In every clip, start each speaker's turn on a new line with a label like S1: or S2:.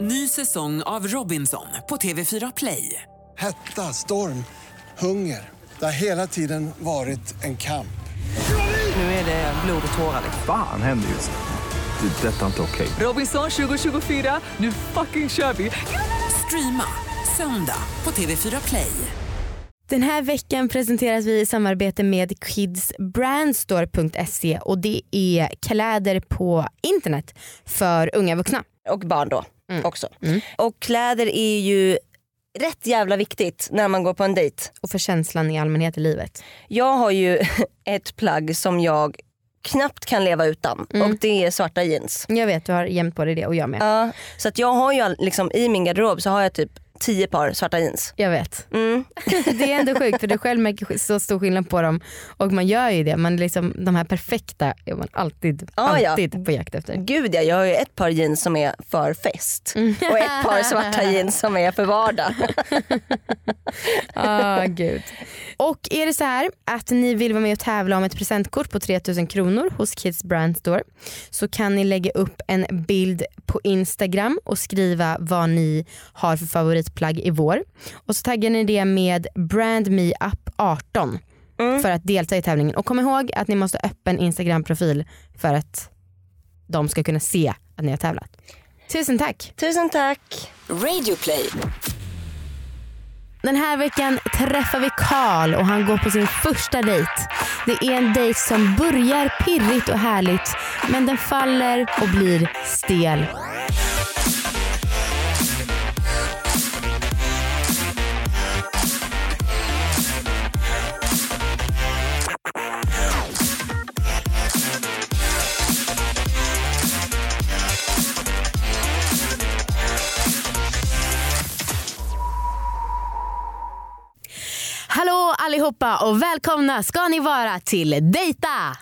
S1: Ny säsong av Robinson på TV4 Play.
S2: Hetta, storm, hunger. Det har hela tiden varit en kamp.
S1: Nu är det blod och tårar.
S3: Fan händer just nu. Det. är Detta är inte okej.
S1: Robinson 2024, nu fucking kör vi! Streama söndag på TV4 Play.
S4: Den här veckan presenteras vi i samarbete med kidsbrandstore.se och det är kläder på internet för unga vuxna.
S5: och barn då också. Och kläder är ju rätt jävla viktigt när man går på en dejt.
S4: Och för känslan i allmänhet i livet.
S5: Jag har ju ett plagg som jag knappt kan leva utan och det är svarta jeans.
S4: Jag vet du har jämt på dig det och jag med.
S5: Ja, så att jag har ju all- liksom, i min garderob så har jag typ tio par svarta jeans.
S4: Jag vet.
S5: Mm.
S4: Det är ändå sjukt för du själv märker sk- så stor skillnad på dem och man gör ju det. Man liksom, de här perfekta är man alltid,
S5: Ja, ja.
S4: alltid på jakt efter.
S5: Gud ja, jag har ju ett par jeans som är för fest och ett par svarta jeans som är för vardag.
S4: Ah, gud. Och är det så här att ni vill vara med och tävla om ett presentkort på 3000 kronor hos Kids Brand Store så kan ni lägga upp en bild på Instagram och skriva vad ni har för favoritplagg i vår. Och så taggar ni det med Brand Me Up 18 för att delta i tävlingen. Och kom ihåg att ni måste ha öppen Instagram-profil för att de ska kunna se att ni har tävlat. Tusen tack!
S5: Tusen tack.
S4: Den här veckan träffar vi Karl och han går på sin första dejt. Det är en dejt som börjar pirrigt och härligt men den faller och blir stel. Hallå allihopa och välkomna ska ni vara till Dejta!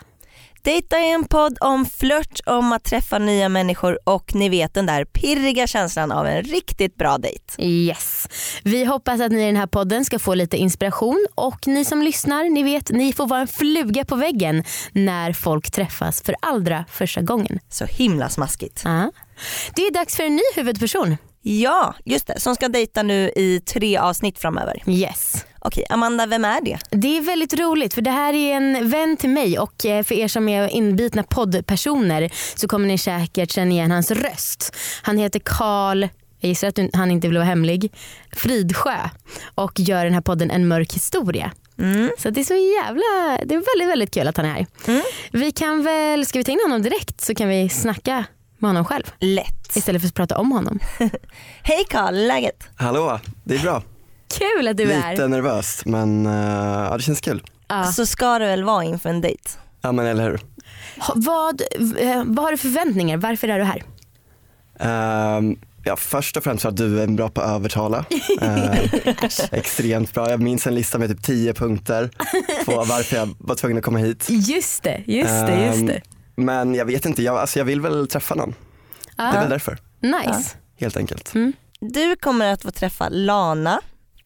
S5: Dejta är en podd om flört, om att träffa nya människor och ni vet den där pirriga känslan av en riktigt bra dejt.
S4: Yes. Vi hoppas att ni i den här podden ska få lite inspiration och ni som lyssnar, ni vet, ni får vara en fluga på väggen när folk träffas för allra första gången.
S5: Så himla smaskigt.
S4: Ja. Det är dags för en ny huvudperson.
S5: Ja, just det. Som ska dejta nu i tre avsnitt framöver.
S4: Yes.
S5: Okej, Amanda, vem är det?
S4: Det är väldigt roligt för det här är en vän till mig och eh, för er som är inbitna poddpersoner så kommer ni säkert känna igen hans röst. Han heter Karl, jag gissar att du- han inte vill vara hemlig, Fridsjö och gör den här podden En mörk historia. Så det är så jävla, det är väldigt väldigt kul att han är här. Vi kan väl, ska vi ta in honom direkt så kan vi snacka med honom själv
S5: Lätt.
S4: istället för att prata om honom.
S5: Hej Karl, läget?
S6: Hallå, det är bra.
S4: Kul att du är
S6: Lite
S4: här.
S6: nervöst men eh, ja, det känns kul.
S4: Ja.
S5: Så ska det väl vara inför en dejt?
S6: Ja men eller hur.
S4: Ha- Vad, eh, vad har du för förväntningar? Varför är du här?
S6: Ehm, ja, först och främst för att du är bra på att övertala. Ehm, extremt bra. Jag minns en lista med typ 10 punkter på varför jag var tvungen att komma hit.
S4: Just det, just det, just
S6: Ehm,
S4: det.
S6: Men jag vet inte, jag, alltså, jag vill väl träffa någon.
S4: Ehm,
S6: Det är väl därför,
S4: Nice.
S6: helt enkelt.
S4: Mm.
S5: Du kommer att få träffa Lana.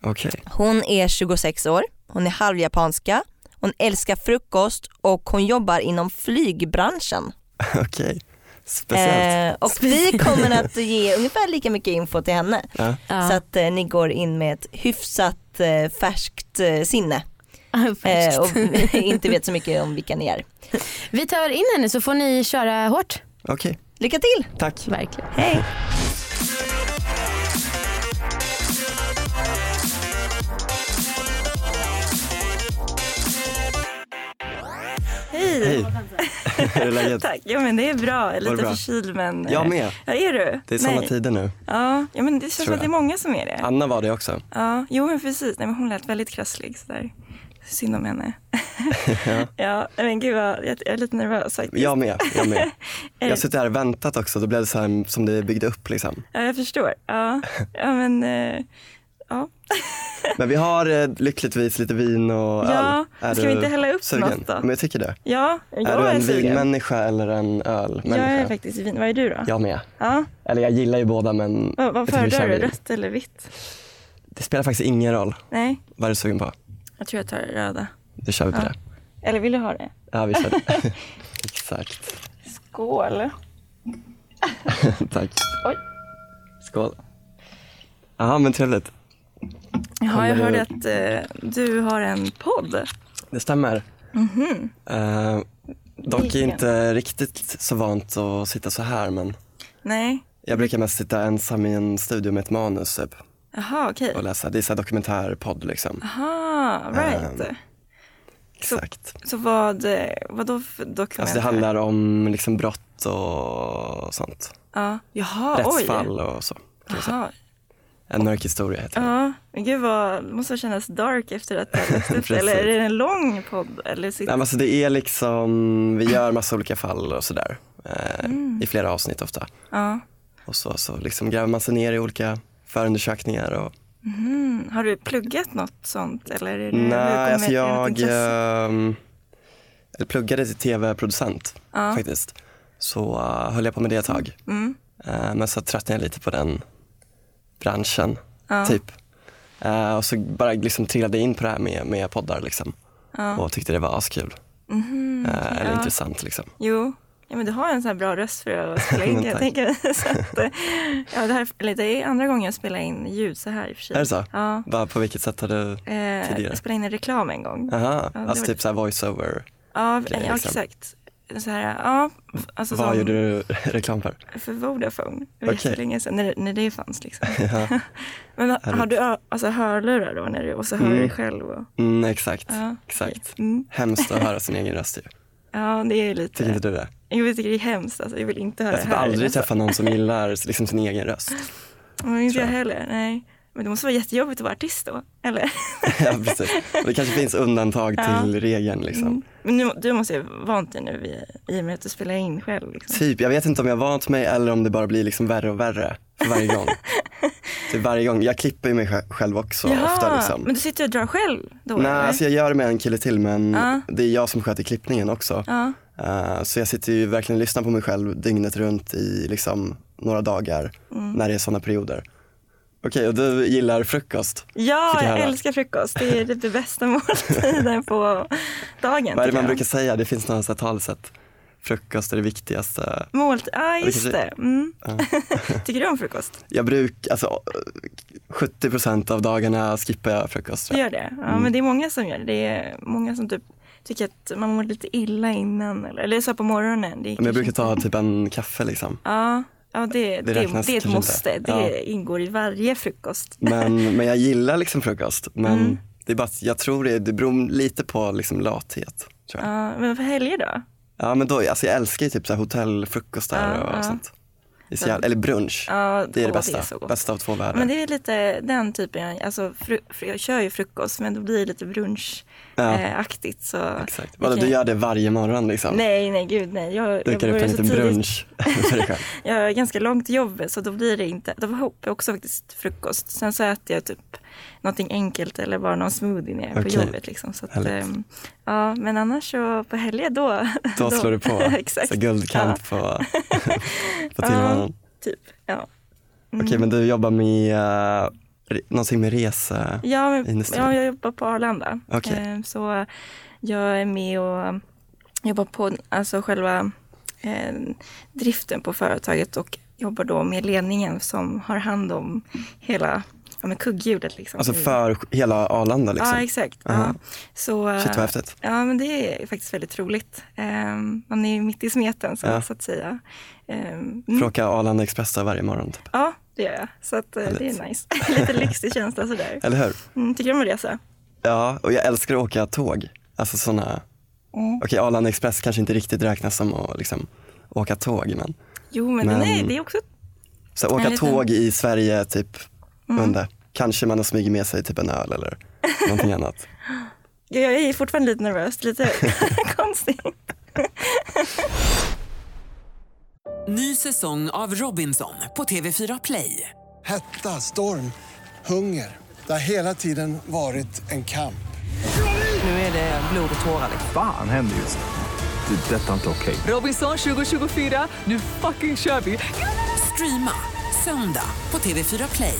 S6: Okej.
S5: Hon är 26 år, hon är halvjapanska, hon älskar frukost och hon jobbar inom flygbranschen.
S6: Okej. Speciellt.
S5: Eh, och vi kommer att ge ungefär lika mycket info till henne.
S6: Ja.
S5: Så att eh, ni går in med ett hyfsat eh, färskt eh, sinne. Eh, och inte vet så mycket om vilka ni är.
S4: Vi tar in henne så får ni köra hårt.
S6: Okej,
S5: Lycka till!
S6: tack.
S4: Verkligen.
S5: Hej!
S6: Hej. Hur är läget?
S7: Tack, ja men det är bra. Jag
S6: Var
S7: är
S6: det
S7: lite
S6: bra?
S7: förkyld men... eh,
S6: Jag med.
S7: Ja, är du?
S6: Det är såna
S7: Nej.
S6: tider nu.
S7: Ja, ja men det känns som
S6: jag.
S7: att det är många som är det.
S6: Anna var det också.
S7: Ja, jo men precis. Nej men hon lät väldigt krasslig sådär. Synd om henne. ja. nej, men gud vad, jag jag är lite nervös faktiskt.
S6: Jag med. Jag med. Jag har suttit här och väntat också, då blev det så här som det byggde upp liksom.
S7: Ja, jag förstår. Ja, ja men... eh, Ja,
S6: Men vi har eh, lyckligtvis lite vin och
S7: Ja,
S6: öl. Är
S7: ska vi
S6: du
S7: inte hälla upp
S6: sugen?
S7: något då?
S6: Men jag tycker det.
S7: ja jag
S6: är du en
S7: sugen.
S6: vinmänniska eller en
S7: Jag
S6: ölmänniska?
S7: är faktiskt vin. Vad är du då?
S6: Jag med.
S7: Ja.
S6: Eller jag gillar ju båda men
S7: Vad,
S6: jag
S7: vad
S6: tycker vi kör
S7: föredrar du?
S6: vin.
S7: Rött eller vitt?
S6: Det spelar faktiskt ingen roll.
S7: Nej,
S6: Vad är du sugen på?
S7: jag tror jag tar röda.
S6: Då kör vi på det.
S7: Eller vill du ha det?
S6: Ja, vi kör det. Exakt.
S7: Skål.
S6: Tack. Skål. Ja, men trevligt.
S7: Jaha, jag
S6: Kommer
S7: hörde
S6: du-
S7: att eh, du har en podd.
S6: Det stämmer. Eh, dock är
S7: Mhm. Vilken?
S6: inte riktigt så vant att sitta så här, men
S7: Nej,
S6: jag brukar mest sitta ensam i en studio med ett manus typ,
S7: jaha okej.
S6: och läsa. Det är så här dokumentärpodd liksom.
S7: Jaha, right.
S6: Ehm, Exakt.
S7: Ah, Så vad, eh, vad då för dokument?
S6: Alltså det handlar om liksom brott och sånt.
S7: ja. Jaha, Ah, oj.
S6: Rättsfall och så. kan vi säga.
S7: Jaha.
S6: En mörk historia heter det.
S7: Ja, men gud vad, det måste kännas dark efter att det har växt upp.
S6: Precis.
S7: Eller är det en lång podd? Eller sitter...
S6: Nej, men alltså det är liksom, vi gör massa olika fall och sådär. Eh, I flera avsnitt ofta.
S7: Mm. ja.
S6: Och så, så liksom gräver man sig ner i olika förundersökningar. Och,
S7: Har du pluggat något sånt? Eller är det, hur
S6: nej,
S7: kommer
S6: alltså
S7: ert
S6: jag
S7: intresse?
S6: ehm, jag pluggade till tv-producent faktiskt. Så eh, höll jag på med det ett tag.
S7: Mm.
S6: Eh, men så tröttnade jag lite på den branschen, typ. Eh, och så bara liksom trillade jag in på det här med, med poddar liksom. Och tyckte det var askul. eh, eller
S7: Mhm, ja.
S6: intressant liksom.
S7: Jo, ja, men du har en sån här bra röst för att spela in.
S6: Men
S7: jag
S6: tack.
S7: tänker, så att, eh, ja, det, här, eller det är andra gången jag spelar in ljud så här i och för sig.
S6: Är det så?
S7: Ja.
S6: Vad- på vilket sätt har du
S7: Eh,
S6: tidigare?
S7: jag spelade in en reklam en gång.
S6: Aha,
S7: det
S6: alltså
S7: var-
S6: typ såhär voiceover.
S7: Ja, eh, ja
S6: grejer, liksom.
S7: exakt. Så här, ja, f- alltså
S6: Vad
S7: som-
S6: gjorde du reklam för?
S7: För Vodafone. Det var
S6: Okej.
S7: jättelänge sedan, när, när det fanns liksom. Men har- har du ö- alltså, hörlurar då när du, och så hör du dig själv? Och,
S6: Mm, exakt,
S7: Ja,
S6: exakt.
S7: Mm.
S6: Hemskt att höra sin egen röst ju.
S7: ja, det är lite...
S6: Tycker inte du det?
S7: Jag tycker det är hemskt alltså, jag vill inte höra
S6: Jag har typ
S7: här.
S6: aldrig
S7: Alltså,
S6: träffat någon som gillar liksom sin egen röst.
S7: men inte jag
S6: tror
S7: heller, nej. Men det måste vara jättejobbigt att vara artist då, eller?
S6: ja, precis. Och det kanske finns undantag till regeln liksom.
S7: Men nu, du måste ju vara vant dig nu i, i och med att du spelar in själv. Liksom.
S6: Typ, jag vet inte om jag vant mig eller om det bara blir liksom värre och värre för varje gång. typ varje gång. Jag klipper ju mig sj- själv också ofta liksom.
S7: men du sitter och drar själv då?
S6: Nej,
S7: eller?
S6: alltså jag gör det med en kille till men
S7: Ja.
S6: det är jag som sköter klippningen också.
S7: Ja.
S6: Eh, så jag sitter ju verkligen och lyssnar på mig själv dygnet runt i liksom några dagar
S7: Mm.
S6: när det är sådana perioder. Okej, och du gillar frukost.
S7: Ja,
S6: Fick jag höra.
S7: jag älskar frukost. Det är typ det bästa måltiden på dagen.
S6: Vad är
S7: tycker
S6: det man
S7: jag.
S6: brukar säga? Det finns några så här talesätt. Frukost är det viktigaste.
S7: Målt, ja ah, just
S6: kanske-
S7: det. Mm. Tycker du om frukost?
S6: Jag brukar, alltså eh, 70% av dagarna skippar jag frukost.
S7: Du
S6: tror jag.
S7: gör det? Ja,
S6: Mm.
S7: men det är många som gör det. Det är många som typ tycker att man mår lite illa innan. Eller, eller så på morgonen.
S6: Men
S7: Det är
S6: jag
S7: kanske
S6: brukar ta typ en kaffe liksom.
S7: Ja, ja det, det, det,
S6: räknas
S7: är ett
S6: kanske inte.
S7: måste. Det
S6: Ja.
S7: ingår i varje frukost.
S6: Men, men jag gillar liksom frukost. Men
S7: Mm.
S6: det är bara att jag tror det, det beror lite på liksom lathet. Tror jag. Ja.
S7: Ja, men för helger då?
S6: men då, alltså jag älskar ju typ så här hotellfrukostar och sånt. Det är så jävla, eller brunch.
S7: Ja,
S6: det är det
S7: åh,
S6: bästa.
S7: så gott.
S6: bästa av två världar.
S7: Men det är lite den typen, jag- alltså, fru, fru, jag kör ju frukost men då blir det lite
S6: Ja.
S7: brunchaktigt. så
S6: Exakt.
S7: det
S6: Vadå,
S7: kan-
S6: du gör det varje morgon liksom?
S7: Nej, nej gud nej. Jag, jag
S6: Dukar upp
S7: börjar
S6: en
S7: så
S6: liten
S7: tidigt.
S6: brunch för dig själv.
S7: Jag har ganska långt jobb så då blir det inte, då hoppar jag också faktiskt frukost. Sen så äter jag typ någonting enkelt eller bara någon smoothie när jag är på
S6: Okej.
S7: jobbet. Liksom. Så att,
S6: Härligt.
S7: ehm, ja, men annars så på helger då.
S6: Då slår du på
S7: Exakt.
S6: så guldkant på, på tillvaron.
S7: Typ. Ja. Mm.
S6: Okej, men du jobbar med eh, re- någonting med resa?
S7: Ja, men,
S6: Industrin.
S7: ja, jag jobbar på Arlanda.
S6: Okej.
S7: Ehm, Så jag är med och jobbar på alltså själva eh, driften på företaget och jobbar då med ledningen som har hand om hela ja, men kugghjulet. Liksom.
S6: Alltså för hela Arlanda liksom?
S7: Ja, exakt.
S6: Aha.
S7: Ja. Så,
S6: Shit, vad häftigt.
S7: Ja, men det är faktiskt väldigt roligt. Ehm, Man är ju mitt i smeten så,
S6: Ja.
S7: så att säga. Ehm,
S6: För att åka Arlanda Express där varje morgon typ.
S7: Ja, det gör jag. Så att, eh, det är nice. Lite lyxig känsla sådär.
S6: Eller hur?
S7: Mm, tycker du om att resa?
S6: Ja, och jag älskar att åka tåg. Alltså sådana...
S7: Mm.
S6: Okej, Arlanda Express kanske inte riktigt räknas som att liksom, åka tåg, men
S7: Jo, men,
S6: Men-
S7: nej, det är också
S6: så här, åka
S7: En liten-
S6: tåg i Sverige, typ,
S7: Mm.
S6: under. Kanske man har smugit med sig typ en öl eller någonting annat.
S7: Jag är fortfarande lite nervös, lite konstigt.
S1: Ny säsong av Robinson på TV4 Play.
S2: Hetta, storm, hunger. Det har hela tiden varit en kamp.
S1: Nu är det blod och tårar.
S3: Fan händer just nu. Det. är Detta är inte okej.
S1: Robinson 2024, nu fucking kör vi! Streama söndag på TV4 Play.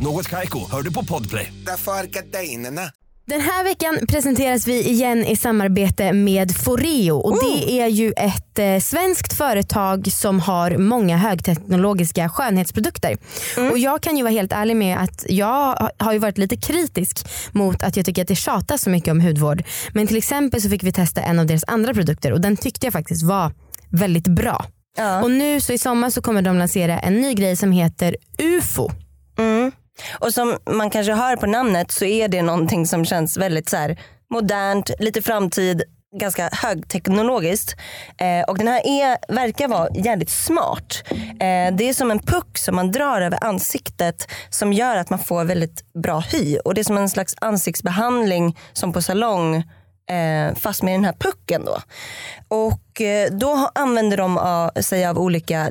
S8: Något Kaiko, hör du på podplay.
S9: Därför arkadeinerna.
S4: Den här veckan presenteras vi igen i samarbete med Foreo och det är ju ett eh, svenskt företag som har många högteknologiska skönhetsprodukter. Och jag kan ju vara helt ärlig med att jag har ju varit lite kritisk mot att jag tycker att det tjatas så mycket om hudvård. Men till exempel så fick vi testa en av deras andra produkter och den tyckte jag faktiskt var väldigt bra. Och nu så i sommar så kommer de lansera en ny grej som heter UFO.
S5: Och som man kanske hör på namnet så är det någonting som känns väldigt så här, modernt, lite framtid, ganska högteknologiskt. Eh, och den här är, verkar vara jävligt smart. Eh, det är som en puck som man drar över ansiktet som gör att man får väldigt bra hy. Och det är som en slags ansiktsbehandling som på salong eh, fast med den här pucken då. Och eh, då ha- använder de av, sig av olika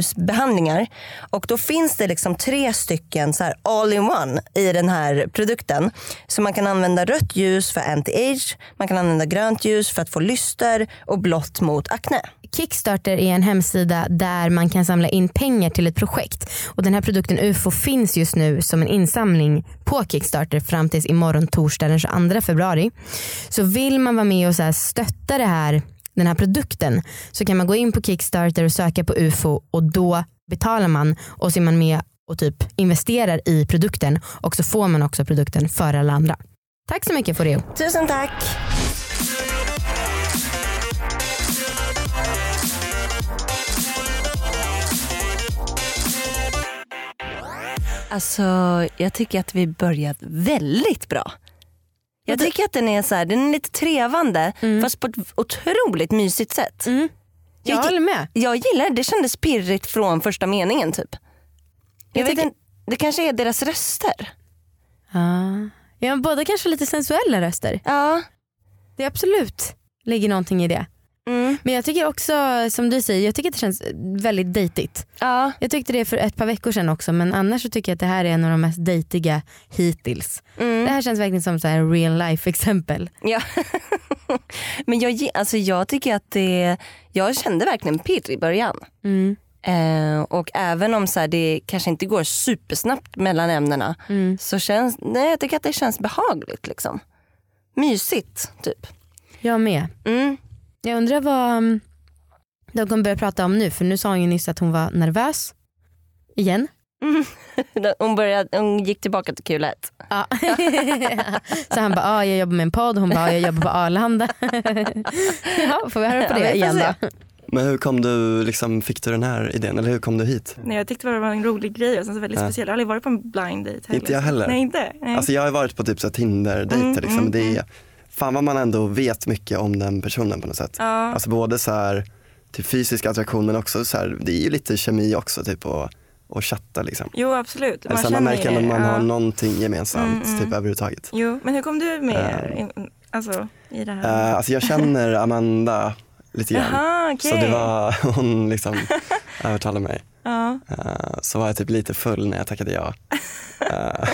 S5: LED-ljusbehandlingar och då finns det liksom tre stycken så här all-in-one i den här produkten. Så man kan använda rött ljus för anti-age, man kan använda grönt ljus för att få lyster och blått mot akne.
S4: Kickstarter är en hemsida där man kan samla in pengar till ett projekt. Och den här produkten UFO finns just nu som en insamling på Kickstarter fram tills imorgon torsdag den 22 februari. Så vill man vara med och så här stötta det här, den här produkten så kan man gå in på Kickstarter och söka på UFO och då betalar man och så är man med och typ investerar i produkten och så får man också produkten före alla andra. Tack så mycket Foreo.
S5: Tusen tack! Alltså, jag tycker att vi börjat väldigt bra. Jag tycker att den är så här, den är lite trevande fast på ett otroligt mysigt sätt.
S4: Jag
S5: Jag,
S4: håller
S5: gi-
S4: med.
S5: jag gillar det, det kändes pirrigt från första meningen typ. Jag
S4: Jag
S5: vet
S4: tycker-
S5: inte, det kanske är deras röster.
S4: Ah. Ja, båda kanske lite sensuella röster.
S5: Ja.
S4: Det är absolut ligger någonting i det.
S5: Mm.
S4: Men jag tycker också som du säger, jag tycker att det känns väldigt dejtigt.
S5: ja.
S4: Jag tyckte det för ett par veckor sedan också men annars så tycker jag att det här är en av de mest dejtiga hittills.
S5: Mm.
S4: Det här känns verkligen som så här real life exempel.
S5: Ja. Men jag, ge- alltså jag tycker att det, jag kände verkligen pirr i början.
S4: Mm.
S5: Eh, och även om så här, det kanske inte går supersnabbt mellan ämnena
S4: mm.
S5: så känns, nej jag tycker att det känns behagligt liksom. Mysigt typ.
S4: Jag med.
S5: Mm.
S4: Jag undrar vad mm, de kommer börja prata om nu för nu sa hon ju nyss att hon var nervös. Igen.
S5: Hon, började, hon gick tillbaka till kul ett.
S4: Ja. så han bara, ah, jag jobbar med en podd, hon bara, ah, jag jobbar på Arlanda. ja, får vi höra på
S5: Ja, vi
S4: det
S5: får
S4: igen
S5: se.
S4: då?
S6: Men hur kom du, liksom, fick du den här idén eller hur kom du hit?
S7: Nej, jag tyckte det var en rolig grej och sen så väldigt
S6: Ja.
S7: speciell. Jag har aldrig varit på en blind date heller.
S6: Inte jag heller.
S7: Nej, inte. Nej.
S6: Alltså jag har varit på typ så här Tinder-dejter
S7: Mm,
S6: liksom.
S7: mm,
S6: det är, fan vad man ändå vet mycket om den personen på något sätt.
S7: ja.
S6: Alltså både så här, typ fysisk attraktion men också så här, det är ju lite kemi också typ och, och chatta liksom.
S7: Jo, absolut.
S6: Eller så här, man
S7: känner
S6: märker
S7: ju
S6: ändå
S7: det.
S6: att man
S7: Ja.
S6: har någonting gemensamt
S7: Mm,
S6: typ
S7: mm.
S6: överhuvudtaget.
S7: Jo, men hur kom du med in- alltså, i det här?
S6: Eh, alltså jag känner Amanda lite grann.
S7: Jaha, okej.
S6: Så det var, hon liksom övertalade mig.
S7: Ja.
S6: Eh, så var jag typ lite full när jag tackade ja. Eh,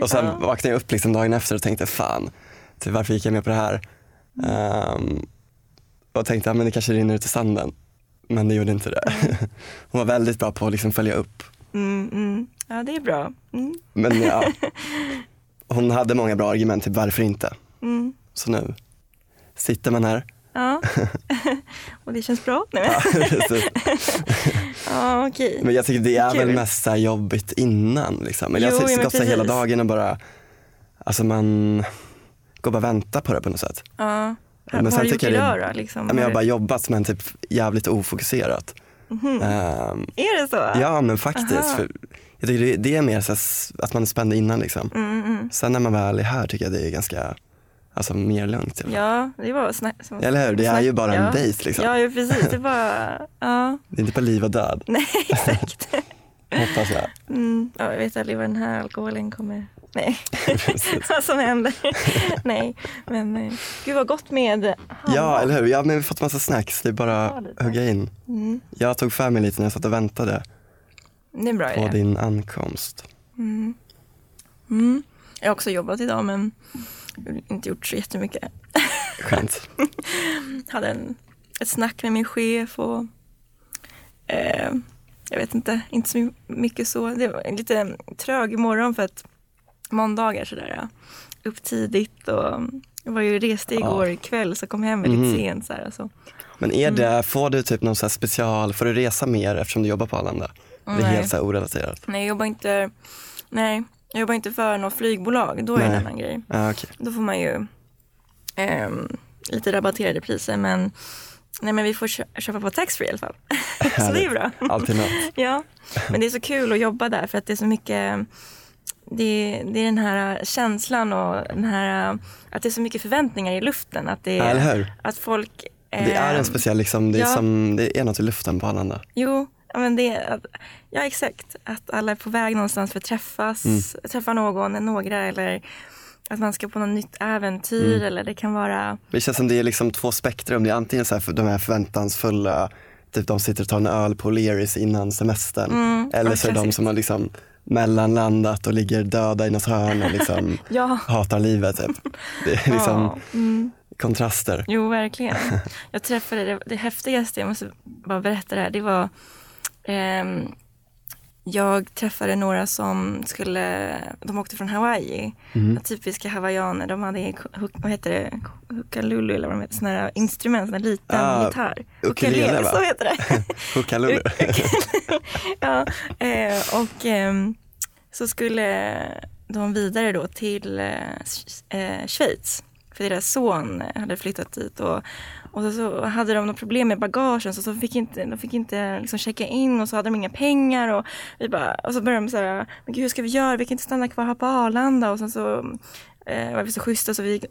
S6: och sen vaknade jag upp liksom dagen efter och tänkte fan, typ, varför gick jag med på det här? Ehm, och tänkte att men det kanske rinner ut i sanden. Men det gjorde inte det. Hon var väldigt bra på att liksom följa upp.
S7: Mm, mm. ja, det är bra. Mm,
S6: Men ja, hon hade många bra argument till varför inte.
S7: mm.
S6: Så nu sitter man här.
S7: Ja, och det känns bra. Nej, men.
S6: Precis.
S7: Ja, okej.
S6: Men jag tycker det är
S7: Kul.
S6: väl mest så här jobbigt innan. Liksom. Eller
S7: Jo,
S6: jag
S7: ja,
S6: har
S7: men
S6: gått så här hela
S7: precis.
S6: dagen och bara, alltså man går bara och väntar på det på något sätt.
S7: Ja. Har,
S6: Men
S7: vad
S6: sen
S7: har du gjort
S6: tycker jag det-
S7: idag då? Liksom?
S6: Ja, men jag har
S7: du-
S6: bara jobbat men typ jävligt ofokuserat. Ehm,
S7: Är det så?
S6: ja men faktiskt.
S7: Mhm. Aha.
S6: För jag tycker det, det är mer så här, s- att man är spänd innan liksom.
S7: Mm, mm.
S6: Sen när man väl är här tycker jag det är ganska, alltså mer lugnt. Eller,
S7: Ja, det var snack. som-
S6: eller hur? Det är
S7: snack-
S6: ju bara en
S7: ja.
S6: dejt liksom.
S7: Ja, ju precis. Det var, ja,
S6: Det är inte på liv och död.
S7: nej exakt.
S6: Hoppas jag.
S7: Mm. Ja, jag vet aldrig vad den här alkoholen kommer... Nej, vad som händer. Nej, men eh, gud vad gott med handbad.
S6: Ja, eller hur? Ja, men vi har fått massa snacks. Det är bara
S7: Ja, lite. Mm.
S6: att hugga in. Jag tog för mig lite när jag satt och väntade
S7: Det är en bra
S6: på
S7: idé.
S6: din ankomst.
S7: Jag har också jobbat idag men inte gjort så jättemycket.
S6: Skönt.
S7: Hade en, ett snack med min chef och eh, jag vet inte, inte så mycket så. Det var en lite trög morgon för att måndagar sådär ja, upp tidigt och jag var ju reste igår kväll så kom hem väldigt sent. Så här, alltså. så.
S6: Men är
S7: Mm.
S6: det, får du typ någon så här special, får du resa mer eftersom du jobbar på Arlanda? Det är
S7: Nej.
S6: helt så här orelaterat.
S7: Nej, jag jobbar inte, nej, jag jobbar inte för något flygbolag, då är det
S6: Nej.
S7: en annan grej.
S6: Ja, okej.
S7: Då får man ju ehm, lite rabatterade priser men, nej, men vi får kö- köpa på taxfree i alla fall. så det är bra.
S6: Alltid något.
S7: Ja, men det är så kul att jobba där för att det är så mycket det är, det är den här känslan och den här, att det är så mycket förväntningar i luften. Att, det
S6: Ja, eller
S7: är,
S6: hur?
S7: att folk...
S6: Det är
S7: ehm,
S6: en speciell, liksom, det, är
S7: ja.
S6: som, det är något i luften på Arlanda.
S7: Jo, ja, men det är, att- ja exakt. Att alla är på väg någonstans för att träffas,
S6: Mm.
S7: träffa någon, några eller att man ska på något nytt äventyr
S6: Mm.
S7: eller det kan vara,
S6: Det känns som det är liksom två spektrum. Det är antingen så här för, de här förväntansfulla, typ de sitter och tar en öl på O'Learys innan semestern.
S7: Mm,
S6: Eller så är det de
S7: klassiskt.
S6: som har liksom mellanlandat och ligger döda i något hörn och liksom
S7: ja,
S6: hatar livet. Typ. Det är liksom
S7: Ja. Mm.
S6: kontraster.
S7: jo verkligen. Jag träffade, det, det häftigaste, jag måste bara berätta det här, det var ehm, jag träffade några som skulle, de åkte från Hawaii,
S6: Mm.
S7: typiska hawaiianer, de hade, hu- vad heter det, hukalulu eller vad de heter, sådana här instrument, sån här liten
S6: Ah,
S7: gitarr.
S6: ukulele, va?
S7: så heter det.
S6: Hukalulu.
S7: ja, eh, och ehm, så skulle de vidare då till eh, Sch- eh, Schweiz. För deras son hade flyttat dit och, och så, så hade de något problem med bagagen så, så fick inte, de fick inte liksom checka in och så hade de inga pengar och, vi bara, och så började de så här, men gud hur ska vi göra, vi kan inte stanna kvar här på Arlanda och sen så eh, var vi så schyssta så vi gick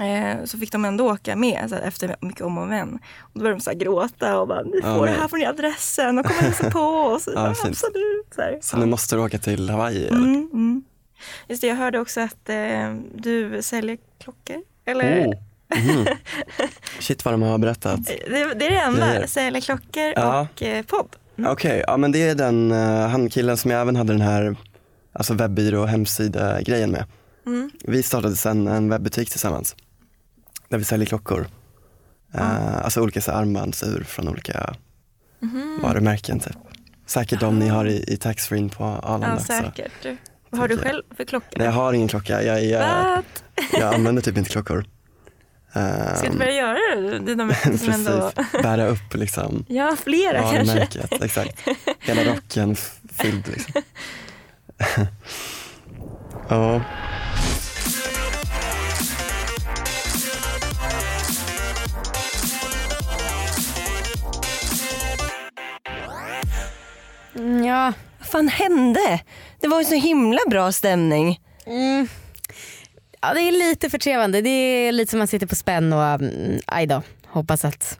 S7: Eh, så fick de ändå åka med så här, efter mycket om och men. Och då började de så här gråta och bara, ni får
S6: Ja,
S7: det
S6: nej.
S7: här får ni adressen, de kommer hälsa på oss.
S6: Ja,
S7: Ja,
S6: fint.
S7: absolut. Så här.
S6: Så nu måste du åka till Hawaii. eller?
S7: Mm, mm. Just det, jag hörde också att eh, du säljer klockor. Eller?
S6: Oh. Mhm. Shit vad de har berättat.
S7: Det, det är det enda,
S6: Grejer.
S7: säljer klockor
S6: Ja.
S7: och eh, podd.
S6: Okej, ja men det är den eh, han killen som jag även hade den här alltså webbyrå och hemsida-grejen med.
S7: Mm.
S6: Vi startade sen en webbutik tillsammans där vi säljer klockor. Eh, alltså olika så här armbandsur från olika
S7: Mhm.
S6: varumärken typ. Säkert de ni har i, i taxfree på Arlanda.
S7: Ja,
S6: så.
S7: säkert. Vad har du
S6: Tänker jag.
S7: själv för klockor?
S6: Nej jag eh, har ingen klocka, jag, jag,
S7: Vad?
S6: jag använder typ inte klockor. Eh,
S7: Ska du börja göra det? Det är de som
S6: precis,
S7: ändå...
S6: bära upp liksom
S7: Ja, flera kanske.
S6: varumärket. Exakt. Hela rocken f- fylld. Liksom. ja.
S4: Mm, Ja,
S5: Vad fan hände? Det var ju så himla bra stämning.
S4: ja, det är lite förtrevande. Det är lite som man sitter på spänn och mm, aj då. Hoppas att,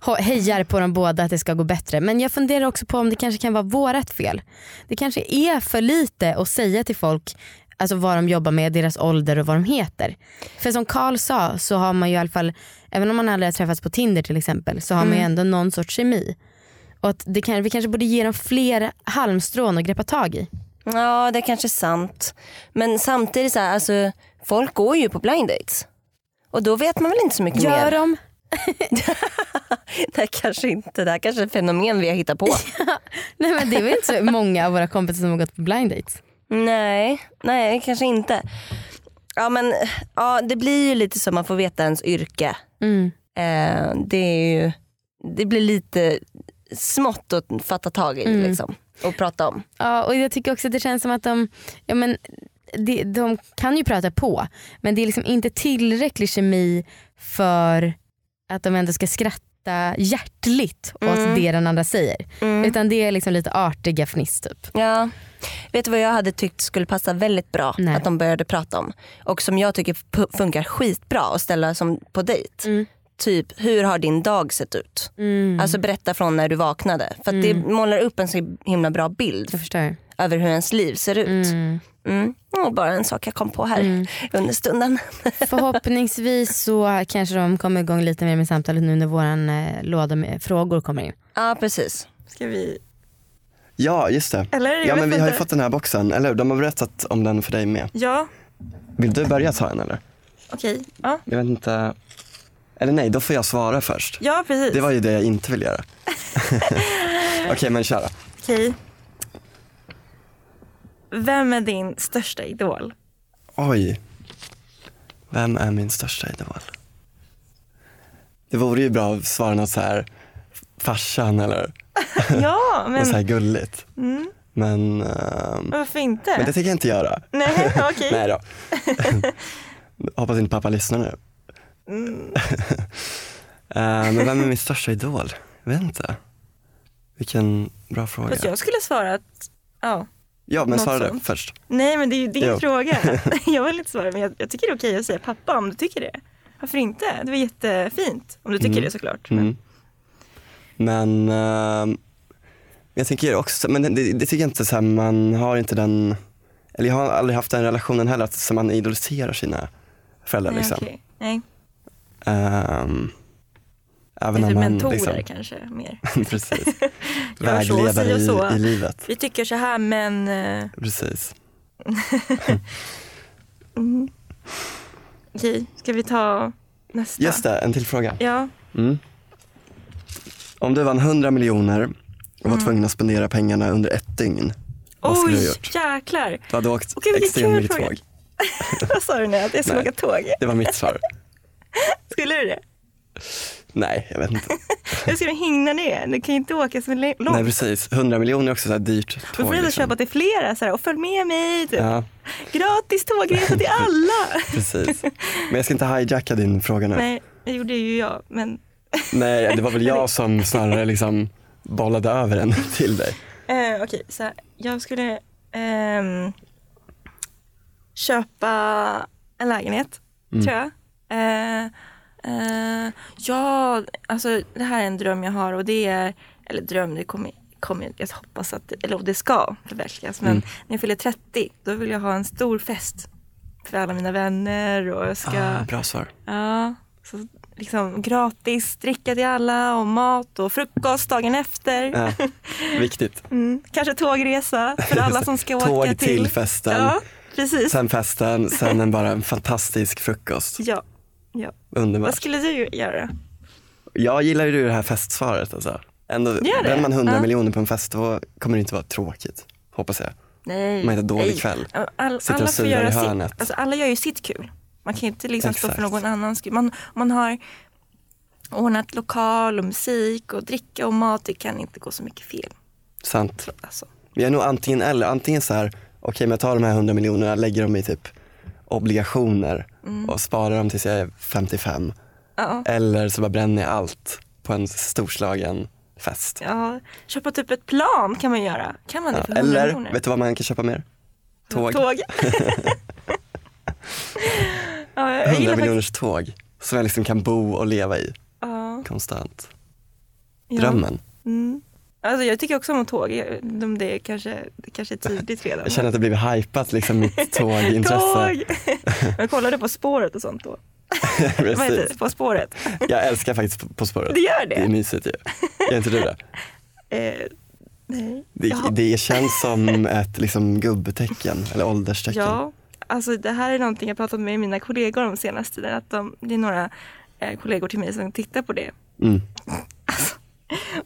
S4: ho- hejar på dem båda att det ska gå bättre. Men jag funderar också på om det kanske kan vara vårat fel. Det kanske är för lite att säga till folk alltså vad de jobbar med, deras ålder och vad de heter. För som Carl sa så har man ju i alla fall, även om man aldrig har träffats på Tinder till exempel, så har man ju ändå någon sorts kemi. Och att det kan, vi kanske borde ge dem fler halmstrån att greppa tag i.
S5: Ja, det är kanske är sant. Men samtidigt, så här, alltså, folk går ju på blind dates. Och då vet man väl inte så mycket
S4: Gör
S5: mer.
S4: de?
S5: Det här kanske inte, det här kanske är ett fenomen vi har hittat på.
S4: Nej men det är väl inte så många av våra kompisar som har gått på blind dates.
S5: nej, nej kanske inte. Ja men ja, det blir ju lite som man får veta ens yrke.
S4: Mm.
S5: Eh, det, är ju, det blir lite smått att fatta tag i liksom, och prata om.
S4: Ja och jag tycker också att det känns som att de, ja, men, de, de kan ju prata på men det är liksom inte tillräcklig kemi för att de ändå ska skratta hjärtligt åt det den andra säger. Utan det är liksom lite artiga fniss typ.
S5: Ja. Vet du vad jag hade tyckt skulle passa väldigt bra
S4: Nej.
S5: att de började prata om? Och som jag tycker pu- funkar skitbra att ställa som på dejt. Typ, hur har din dag sett ut?
S4: Mm.
S5: Alltså berätta från när du vaknade. Mm. För att det målar upp en så himla bra bild
S4: Jag förstår.
S5: över hur ens liv ser ut. Mm. Mm. Och bara en sak jag kom på här under stunden.
S4: Förhoppningsvis så kanske de kommer igång lite mer med samtalet nu när våran eh, låda med frågor kommer in.
S5: Ja precis.
S7: Ska vi...
S6: Ja, just det.
S7: Eller? Jag
S6: ja,
S7: vet
S6: men vi har ju
S7: inte.
S6: fått den här boxen, eller hur? De har berättat om den för dig med.
S7: Ja,
S6: Vill du börja ta en eller?
S7: okej. Ja.
S6: Jag vet inte. Eller nej, då får jag svara först.
S7: ja, precis.
S6: Det var ju det jag inte ville göra. Okej, men kör då.
S7: Okej. Vem är din största idol?
S6: Oj. Vem är min största idol? Det vore ju bra att svara något så här farsan eller
S7: Ja, men Mm.
S6: något så här gulligt. Men, ehm,
S7: varför inte?
S6: men det tänker jag inte göra.
S7: Nej, okej.
S6: Nej då. Hoppas inte pappa lyssnar nu.
S7: Mm.
S6: Eh, men vem är min största idol? Jag vet inte. Vilken bra fråga.
S7: Fast jag skulle svara att... Ja.
S6: Ja, men
S7: något
S6: svara du
S7: sånt.
S6: först.
S7: Nej, men det är ju din
S6: Jo.
S7: fråga. Jag vill inte svara, men jag, jag tycker det är okej att säga pappa om du tycker det. Varför inte? Det var jättefint. Om du tycker det såklart. Men,
S6: Mm. Men ehm, jag tänker också, men det, det tycker jag inte så här, man har inte den, eller jag har aldrig haft den relationen heller att så man idoliserar sina föräldrar.
S7: nej,
S6: liksom.
S7: okej. Nej,
S6: Ehm,
S7: det
S6: även
S7: är
S6: om
S7: typ
S6: man
S7: mentorer
S6: liksom,
S7: kanske mer.
S6: precis,
S7: Gör så, si
S6: vägledare
S7: och så.
S6: i, i livet.
S7: Vi tycker så här, men... eh,
S6: Precis.
S7: Okej, ska vi ta nästa?
S6: Just det, en till fråga.
S7: Ja,
S6: Mm. Om du vann 100 miljoner och var tvungen att spendera pengarna under ett dygn, vad skulle du ha
S7: Mm. Oj,
S6: gjort?
S7: jäklar.
S6: Du hade åkt
S7: Okej, vilken
S6: extremt
S7: kul
S6: mycket
S7: fråga.
S6: tåg.
S7: Vad sa du nu? Att jag skulle
S6: Nej.
S7: åka tåg?
S6: Det var mitt svar.
S7: Skulle du det?
S6: Nej, jag vet inte.
S7: Hur ska du hinna ner? Du kan ju inte åka så långt.
S6: Nej precis, 100 miljoner är också så här dyrt
S7: Då
S6: tåg.
S7: får du ändå
S6: liksom.
S7: köpa till flera så här, och följ med mig. Typ.
S6: Ja,
S7: Gratis tågresa till alla.
S6: precis. Men jag ska inte hijacka din fråga nu. Nej,
S7: Nej, det gjorde ju jag. Men,
S6: det var väl jag som snarare liksom bollade över den till dig.
S7: eh, okej, så här, jag skulle ehm, köpa en lägenhet, tror jag. Eh, eh, ja, alltså det här är en dröm jag har och det är, eller dröm, det kommer, kommer jag hoppas att, eller det ska förverkligas. Men när jag fyller 30, då vill jag ha en stor fest för alla mina vänner och jag ska
S6: bra svar.
S7: Ja, så liksom gratis dricka till alla och mat och frukost dagen efter.
S6: Ja, viktigt.
S7: Mm, kanske tågresa för alla som ska åka
S6: Tåg
S7: till.
S6: till festen,
S7: Ja, precis.
S6: sen festen, sen en bara en fantastisk frukost.
S7: Ja, ja. Vad
S6: Underbart.
S7: skulle du göra?
S6: Jag gillar ju det här festsvaret alltså. Ändå,
S7: det?
S6: bränner man 100
S7: Ja.
S6: miljoner på en fest då kommer det inte vara tråkigt, hoppas jag.
S7: Nej.
S6: Man har inte dålig
S7: nej.
S6: kväll.
S7: All, alla
S6: Sitter och
S7: får
S6: surar
S7: göra
S6: i
S7: sitt,
S6: hörnet.
S7: alltså, alla gör ju sitt kul. Man kan ju inte liksom stå för
S6: Exakt.
S7: någon annans kul. Man, man har ordnat lokal och musik och dricka och mat. Det kan inte gå så mycket fel.
S6: Sant.
S7: Alltså.
S6: Jag är nog antingen eller. Antingen så här, okej men jag tar de här 100 miljonerna, lägger dem i typ obligationer och sparar dem tills jag är 55.
S7: Mm. Ja.
S6: Eller så bara bränner jag allt på en storslagen fest.
S7: Ja, köpa typ ett plan kan man göra. Kan man det för 100 miljoner?
S6: Eller, vet du vad man kan köpa mer? Tåg.
S7: Tåg. ja, jag
S6: 100
S7: gillar faktiskt...
S6: miljoners tåg som jag liksom kan bo och leva i
S7: Ja,
S6: konstant.
S7: ja.
S6: Drömmen.
S7: Mm. Alltså, jag tycker också om tåg. Jag- De det, är kanske, det kanske är tidigt redan.
S6: Jag känner att det blivit hypat liksom mitt tågintresse.
S7: Tåg! Jag kollade På spåret och sånt då. Vad heter
S6: Precis.
S7: det? På spåret.
S6: Jag älskar faktiskt På- På spåret.
S7: Det gör det.
S6: Det är mysigt ju. Gör inte du det?
S7: Eh, nej.
S6: Det,
S7: Jaha.
S6: det känns som ett liksom, gubbtecken, eller ålderstecken.
S7: Ja, alltså det här är någonting jag pratat med mina kollegor om senaste tiden. Att de, det är några eh, kollegor till mig som tittar på det.
S6: Mm.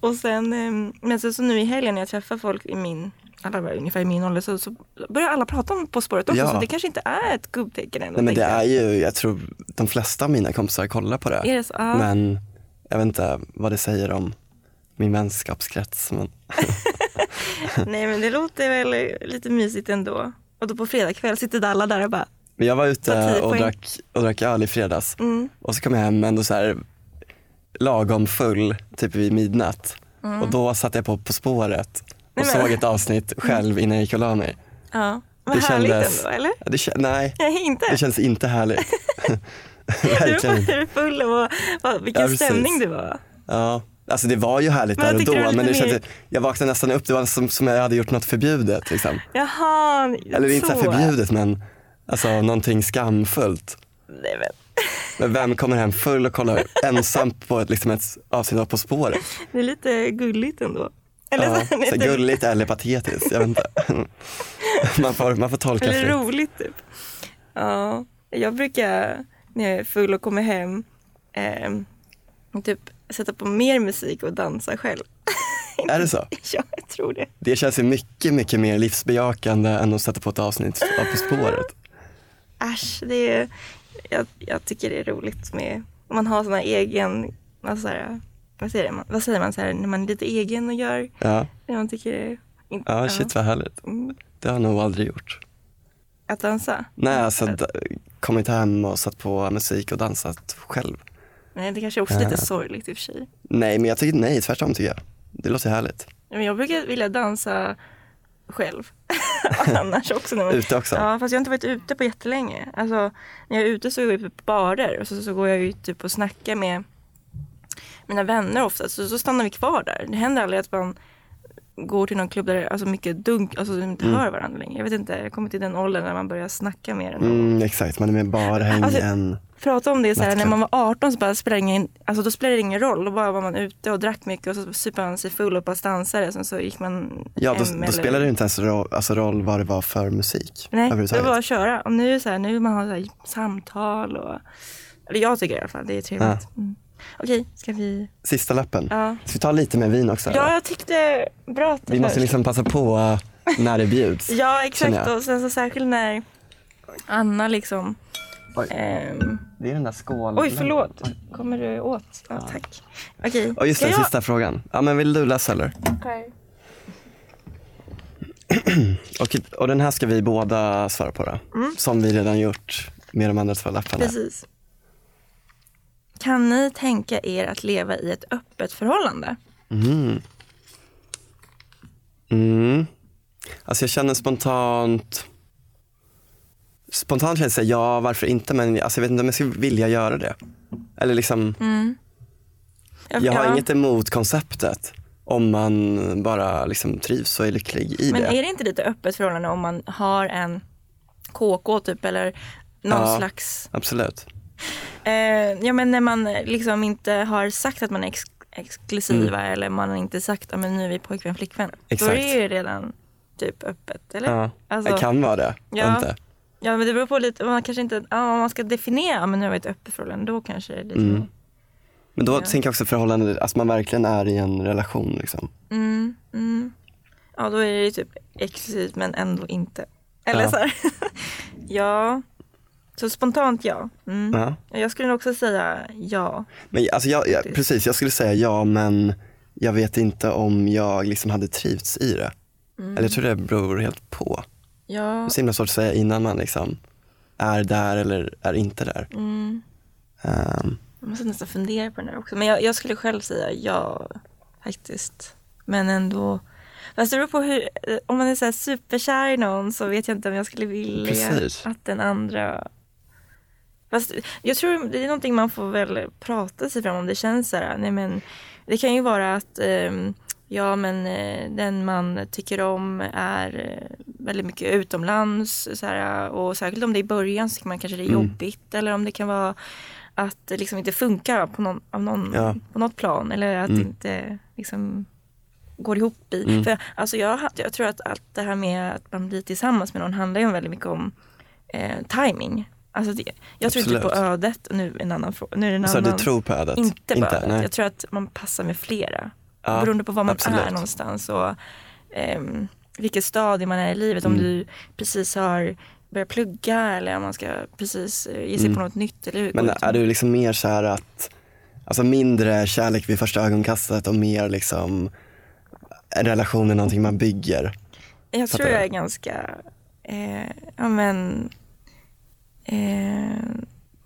S7: Och sen, eh, men sen så nu i helgen när jag träffar folk i min, alla var ungefär i min ålder, så, så börjar alla prata om På spåret också.
S6: Ja.
S7: Så det kanske inte är ett gubbtecken ändå.
S6: Nej, men det
S7: tänkte jag.
S6: är ju, jag tror de flesta av mina kompisar kollar på det.
S7: Är det så? Ja.
S6: Men jag vet inte vad det säger om min vänskapskrets. Men,
S7: Nej men det låter väl lite mysigt ändå. Och då på fredagkväll sitter alla där och bara,
S6: men jag var
S7: Ta
S6: ute
S7: tio
S6: och
S7: poäng. Mm.
S6: drack, och drack öl i fredags och så kom jag hem ändå så här lagom full, typ vid midnatt. Och då satte jag på På spåret och
S7: Mm. men-
S6: såg ett avsnitt själv innan jag gick och la mig.
S7: ja, vad härligt ändå eller?
S6: Ja, Det, kä- nej,
S7: Nej inte.
S6: det känns inte härligt.
S7: Du
S6: Verkligen
S7: var full och var, var, vilken
S6: Ja, precis.
S7: stämning det var.
S6: Ja, Nej, Alltså det var ju härligt
S7: Men jag
S6: där och
S7: tycker det var
S6: då men det
S7: lite mer-
S6: kändes, jag vaknade nästan upp, det var som, som jag hade gjort något förbjudet. Liksom.
S7: Jaha,
S6: Eller
S7: så.
S6: inte så här förbjudet men alltså någonting skamfullt.
S7: Nej, men,
S6: Men vem kommer hem full och kollar ensam på ett, liksom ett avsnitt av På spåret?
S7: det är lite gulligt ändå. Eller,
S6: Ja,
S7: så,
S6: så här gulligt eller patetiskt, jag vet inte. Man får, man får tolka
S7: Eller
S6: fritt.
S7: roligt typ. Ja, jag brukar när jag är full och kommer hem ehm, typ sätta på mer musik och dansa själv.
S6: Är det så?
S7: ja, jag tror det.
S6: Det känns ju mycket, mycket mer livsbejakande än att sätta på ett avsnitt av På spåret.
S7: Äsch, det är, jag, jag tycker det är roligt med om man har sån här egen, vad, så här, vad, säger man, vad säger man så här, när man är lite egen och gör
S6: Ja,
S7: det man tycker är in-
S6: ja shit vad härligt.
S7: Mm.
S6: Det har jag nog aldrig gjort.
S7: Att dansa?
S6: Nej, alltså d- kommit hem och satt på musik och dansat själv.
S7: Nej, det kanske är också lite sorgligt i och för sig.
S6: Nej, men jag tycker nej, tvärtom tycker jag. Det låter härligt.
S7: Men jag brukar vilja dansa själv. Annars också. När man...
S6: Ute också?
S7: Ja, fast jag har inte varit ute på jättelänge. Alltså, när jag är ute så går jag typ på barer och så, så går jag ju typ och snackar med mina vänner ofta. Så, så stannar vi kvar där. Det händer aldrig att man går till någon klubb där det är alltså mycket dunk, alltså de
S6: Mm.
S7: inte hör varandra längre. Jag vet inte, jag kommer till den åldern när man börjar snacka mer. Än
S6: Mm, exakt, man är med bara häng
S7: Alltså-
S6: en.
S7: Prata om det så här, när
S6: Nattklubb.
S7: man var 18 så bara spelade det ingen, alltså då spelade det ingen roll. Då bara var man ute och drack mycket och så supade man sig full och bara dansade. Sen så gick man
S6: Ja, då,
S7: hem
S6: då
S7: eller-
S6: spelar det inte ens roll, alltså roll vad det var för musik.
S7: Nej, det var
S6: överhuvudtaget.
S7: bara att köra. Och nu är det så här, nu man har så här samtal och... Eller jag tycker i alla fall det är trevligt. Mm. Okej, ska vi...
S6: Sista lappen.
S7: Ja.
S6: Ska vi ta lite mer vin också?
S7: Ja, jag tyckte bra att det
S6: vi måste
S7: hörs.
S6: liksom passa på eh, när det bjuds.
S7: Ja,
S6: känner
S7: exakt.
S6: jag.
S7: Och sen så särskilt när Anna liksom...
S6: Oj.
S7: Ehm,
S6: Det är den där skålen.
S7: oj, förlåt. Kommer du åt? Ja, tack. Okej,
S6: Och just
S7: ska
S6: den
S7: jag...
S6: sista frågan. Ja, men vill du läsa eller? Och, typ, och den här ska vi båda svara på då. Som vi redan gjort med de andra två lapparna.
S7: Mm. Precis. Kan ni tänka er att leva i ett öppet förhållande?
S6: Mm. Alltså jag känner spontant Spontant känns det ja varför inte men alltså jag vet inte om jag skulle vilja göra det. Eller liksom, jag har
S7: ja.
S6: inget emot konceptet om man bara liksom trivs och är lycklig i
S7: Men
S6: det.
S7: är det inte lite öppet förhållande om man har en KK typ eller någon
S6: Ja.
S7: slags,
S6: Absolut.
S7: eh, ja men när man liksom inte har sagt att man är ex- exklusiva eller man har inte sagt att men nu är vi pojkvän flickvän. Då är
S6: Mm. Exakt.
S7: det ju redan typ öppet eller?
S6: Ja.
S7: Alltså,
S6: det kan vara det.
S7: Ja.
S6: Inte.
S7: ja men det beror på lite, man kanske inte, ja, om man ska definiera, ja, men nu har vi ett öppet förhållande, då kanske det är lite
S6: Mm. Men då tänker jag också förhållande, att man verkligen är i en relation. Liksom.
S7: Mm. Ja, då är det ju typ exklusivt men ändå inte. Eller
S6: Ja.
S7: så här. ja. Så spontant ja. Mm.
S6: Ja.
S7: Jag skulle nog också säga ja.
S6: Men alltså jag, jag, precis, jag skulle säga ja men jag vet inte om jag liksom hade trivts i det.
S7: Mm.
S6: Eller jag tror det beror helt på. Det
S7: Ja,
S6: är så himla svårt att säga innan man liksom är där eller är inte där.
S7: Mm.
S6: Ehm,
S7: jag måste nästan fundera på den här också. Men jag, jag skulle själv säga ja faktiskt. Men ändå. Fast det beror på hur, eh, om man är så här superkär i någon så vet jag inte om jag skulle vilja
S6: Precis.
S7: att den andra Fast jag tror det är någonting man får väl prata sig fram om. Det känns så här, nej men det kan ju vara att ehm, ja men eh, den man tycker om är eh, väldigt mycket utomlands så här, och särskilt om det är i början så tycker man kanske det är jobbigt eller om det kan vara att det liksom inte funkar på, någon, av någon,
S6: Ja.
S7: på något plan eller att det inte liksom går ihop i.
S6: Mm.
S7: För, alltså jag, har- jag tror att allt det här med att man blir tillsammans med någon handlar ju väldigt mycket om eh, timing. Alltså det, jag tror inte på
S6: Absolut.
S7: ödet. Nu är det en annan fråga. Nu är det en
S6: så
S7: annan,
S6: du tror på ödet?
S7: inte på ödet.
S6: nej.
S7: Jag tror att man passar med flera.
S6: Ja,
S7: beroende på var man
S6: absolut.
S7: är någonstans och ehm, vilket stadie man är i livet.
S6: Mm.
S7: Om du precis har börjat plugga eller om man ska precis eh, ge sig på något nytt. Eller hur-
S6: Mm. Men
S7: går ut-
S6: är du liksom mer så här att, alltså mindre kärlek vid första ögonkastet och mer liksom en relation är någonting man bygger?
S7: Jag
S6: Fattar
S7: tror jag
S6: du?
S7: är ganska, eh, ja men, eh,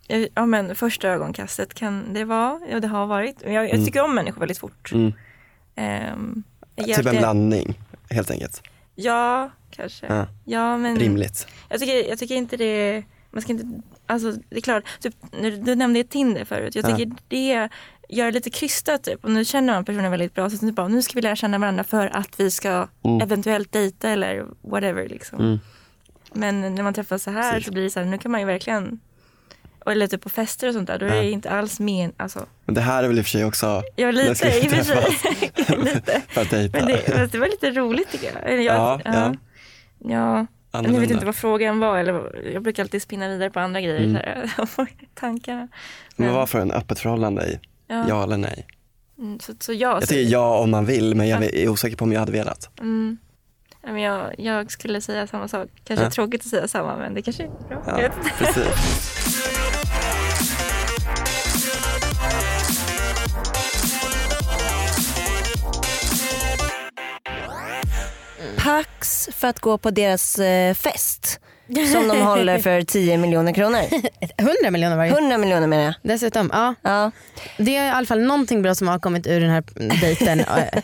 S7: jag- ja men första ögonkastet kan det vara, ja det har varit. Men Jag, jag tycker om människor väldigt fort.
S6: Mm.
S7: Ehm, jag
S6: Typ en
S7: hjälpte-
S6: blandning helt enkelt.
S7: Ja, kanske.
S6: Ja.
S7: Ja, men
S6: Rimligt.
S7: jag tycker, jag tycker inte det, man ska inte, alltså det är klart, typ, när du, du nämnde Tinder förut, jag
S6: Ja.
S7: tycker det göra lite krystat typ. Och nu känner man personen väldigt bra. Så typ bara, nu ska vi lära känna varandra för att vi ska
S6: Mm.
S7: eventuellt dejta eller whatever liksom. Men när man träffas så här så blir det så här, nu kan man ju verkligen, och eller typ på fester och sånt där, då är det inte alls men, alltså.
S6: Men det här är väl i och för sig också...
S7: Ja
S6: när
S7: lite
S6: ska vi
S7: i och för
S6: träffas
S7: sig. lite.
S6: För att dejta.
S7: Men det, fast det var lite roligt tycker jag. Eller jag
S6: Ja, ja.
S7: ja. Jag vet
S6: Annorlunda.
S7: inte vad frågan var. Eller, vad- jag brukar alltid spinna vidare på andra grejer. Så här, tankarna.
S6: Men vad för en öppet förhållande i?
S7: Ja.
S6: Ja. eller nej?
S7: Mm, Så, så jag,
S6: Jag tycker ja om man vill, men jag är osäker på om jag hade velat.
S7: Ja, men jag, jag skulle säga samma sak. Kanske
S6: Ja.
S7: tråkigt att säga samma, men det kanske är bra. Jag
S6: Ja,
S7: vet inte.
S6: precis.
S5: Pax för att gå på deras eh, fest som de håller för 10 miljoner kronor.
S4: 100 miljoner varje.
S5: 100 miljoner menar jag.
S4: Dessutom, ja.
S5: Ja.
S4: Det är i alla fall någonting bra som har kommit ur den här dejten. eh,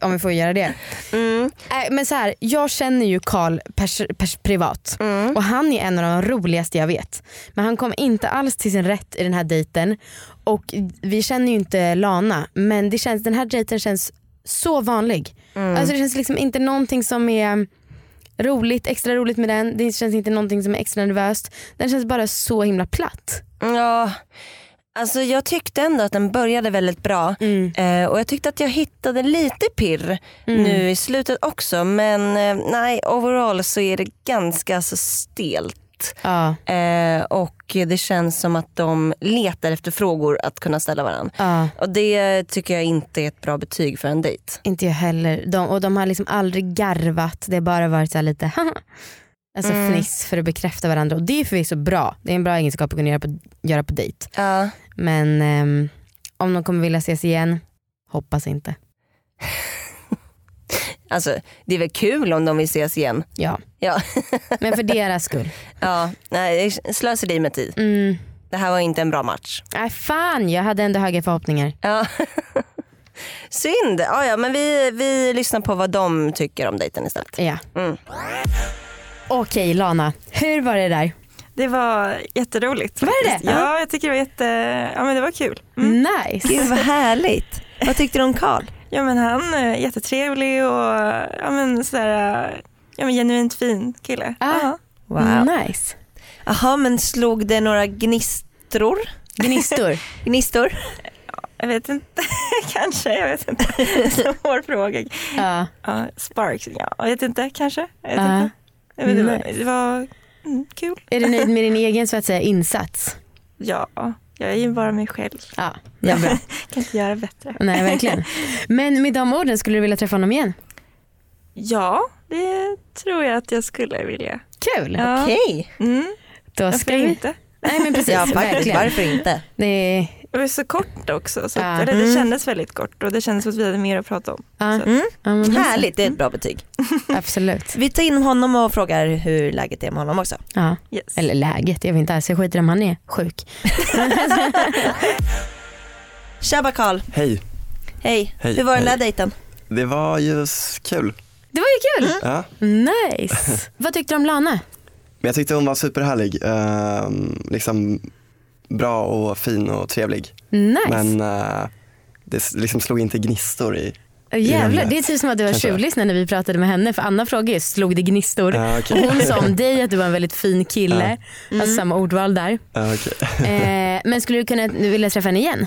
S4: om vi får göra det.
S5: Mm.
S4: Eh, Men så här, jag känner ju Karl pers- pers- privat
S5: Mm.
S4: och han är en av de roligaste jag vet. Men han kom inte alls till sin rätt i den här dejten. Och vi känner ju inte Lana men det känns, den här dejten känns så vanlig. Alltså Det känns liksom inte någonting som är roligt, extra roligt med den. Det känns inte någonting som är extra nervöst. Den känns bara så himla platt.
S5: Ja, alltså jag tyckte ändå att den började väldigt bra. Eh, och jag tyckte att jag hittade lite pirr nu i slutet också. Men eh, nej, overall så är det ganska så stelt.
S4: Ja.
S5: Eh, och det känns som att de letar efter frågor att kunna ställa varandra.
S4: Ja.
S5: Och det tycker jag inte är ett bra betyg för en dejt.
S4: Inte jag heller. De, och de har liksom aldrig garvat, det har bara varit så här lite haha. Alltså
S5: Mm.
S4: fniss för att bekräfta varandra och det är förvisso bra. Det är en bra egenskap att kunna göra på, göra på dejt.
S5: Ja.
S4: Men ehm, om de kommer vilja ses igen, hoppas inte.
S5: Alltså det är väl kul om de vill ses igen.
S4: Ja.
S5: Ja,
S4: Men för deras skull.
S5: ja. nej det är slöseri med tid.
S4: Mm.
S5: Det här var inte en bra match.
S4: Nej fan, jag hade ändå höga förhoppningar.
S5: Ja. Synd. Ja, ja, men vi, vi lyssnar på vad de tycker om dejten istället.
S4: Ja.
S5: Mm.
S4: Okej Lana, hur var det där?
S7: Det var jätteroligt.
S4: Var det
S7: faktiskt.
S4: det?
S7: Ja, jag tycker det var jätte... Ja, men det var kul. Mm.
S4: Nice.
S5: Mm. Gud vad härligt. Vad tyckte du om Karl?
S7: Ja, men han är jättetrevlig och ja, men sådär, ja, men genuint fin kille.
S4: Ah.
S7: Ja.
S5: Wow.
S4: Nice.
S5: Jaha, men slog det några gnistror?
S4: Gnistor.
S5: Gnistor?
S7: Jag vet inte, kanske. Jag vet inte. Svår fråga.
S4: ja.
S7: Ja, sparks, ja. Jag vet inte, kanske. Jag vet
S4: Ja.
S7: inte. Ja, men det var,
S4: Nice.
S7: det var mm, kul.
S4: Är du nöjd med din egen så att säga insats?
S7: Ja, jag är ju bara mig själv.
S4: Ja, det är bra.
S7: Kan inte göra bättre.
S4: Nej verkligen. Men med de orden skulle du vilja träffa honom igen?
S7: Ja, det tror jag att jag skulle vilja.
S4: Kul!
S7: Ja.
S5: Okej.
S7: Mm,
S4: Då
S7: varför
S4: ska vi...
S7: inte?
S4: Nej men precis,
S5: Ja, faktiskt.
S4: verkligen.
S5: Varför inte?
S4: Det är...
S7: Det var så kort också. Så
S4: Ja. Mm.
S7: att, eller det kändes väldigt kort och det kändes som att vi hade mer att prata om.
S4: Ja.
S7: Så att-
S4: ja, men det-
S5: Härligt, det är ett bra betyg.
S4: Absolut.
S10: Mm. Vi tar in honom och frågar hur läget är med honom också.
S4: Ja.
S7: Yes.
S4: Eller läget, jag vet inte alls. Jag skiter i om han är sjuk.
S10: Tjabba Karl,
S6: Hej,
S10: hej.
S6: Hej,
S10: Hur var den
S6: hej.
S10: där dejten?
S6: det var ju s- kul.
S4: Det var ju kul!
S6: Ja.
S4: Nice! Vad tyckte du om Lana?
S6: Men jag tyckte hon var superhärlig. Ehm, liksom bra och fin och trevlig.
S4: Nice!
S6: Men eh, det s- liksom slog inte gnistor i...
S4: Åh, Jävlar,
S6: Ja,
S4: det är typ som att du var
S6: kanske.
S4: tjuvlyssnare när vi pratade med henne för Anna frågade ju, slog det gnistor?
S6: Ja, okej.
S4: Och hon sa om dig att du var en väldigt fin kille. Alltså samma ordval där.
S6: Ja, okej.
S4: Eh, men skulle du kunna vilja träffa henne igen?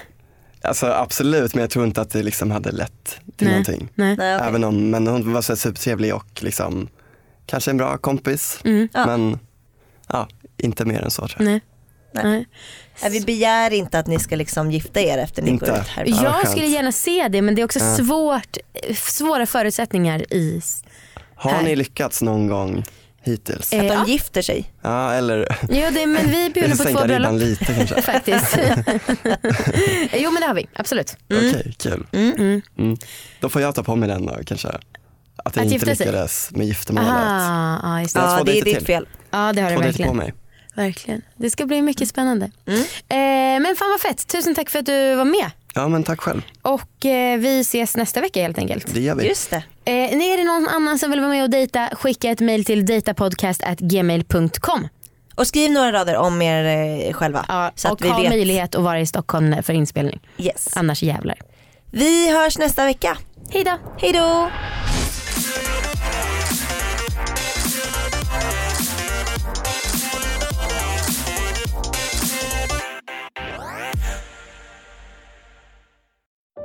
S6: Alltså absolut, men jag tror inte att det liksom hade lett till
S4: Nej.
S6: någonting.
S4: Nej.
S5: Nej, okej.
S6: Även om, men hon var så här supertrevlig och liksom kanske en bra kompis. Men ja, inte mer än så tror jag.
S4: Nej.
S10: Nej.
S4: Nej.
S10: Nej, Vi begär inte att ni ska liksom gifta er efter ni
S6: Inte.
S10: går ut härifrån.
S6: Ja, vad
S4: Jag
S6: skönt.
S4: skulle gärna se det men det är också svårt, svåra förutsättningar i...
S6: Har ni lyckats någon gång hittills?
S4: Eh,
S10: Att
S4: ja.
S10: de gifter sig.
S6: Ja, eller
S4: Jo, det, men vi
S6: jag
S4: bjuder
S6: ska
S4: på två
S6: sänka ribban
S4: bröllop
S6: lite kanske.
S4: faktiskt. jo men det har vi, absolut.
S6: Okej, kul. Mm. Då får jag ta på mig den då kanske. Att jag
S4: Att
S6: inte
S4: gifta sig?
S6: lyckades med giftermålet.
S4: Aha, ja, just det.
S6: Jag har
S10: Ja,
S6: två
S10: det är
S6: dejter
S10: ditt
S6: till.
S10: fel.
S4: ja det har du
S6: Två dejter på
S4: verkligen.
S6: mig. Mm.
S4: verkligen. Det ska bli mycket spännande. Eh, men fan vad fett, tusen tack för att du var med.
S6: Ja men tack själv,
S4: Och eh, vi ses nästa vecka helt enkelt.
S6: det gör vi.
S10: Just det.
S4: Eh, är det någon annan som vill vara med och dejta, skicka ett mail till datapodcastgmail.com.
S5: Och skriv några rader om er eh, själva. så
S4: och ha möjlighet att vara i Stockholm när- för inspelning.
S5: Yes.
S4: Annars jävlar.
S5: Vi hörs nästa vecka.
S4: Hej då.
S5: Hej då.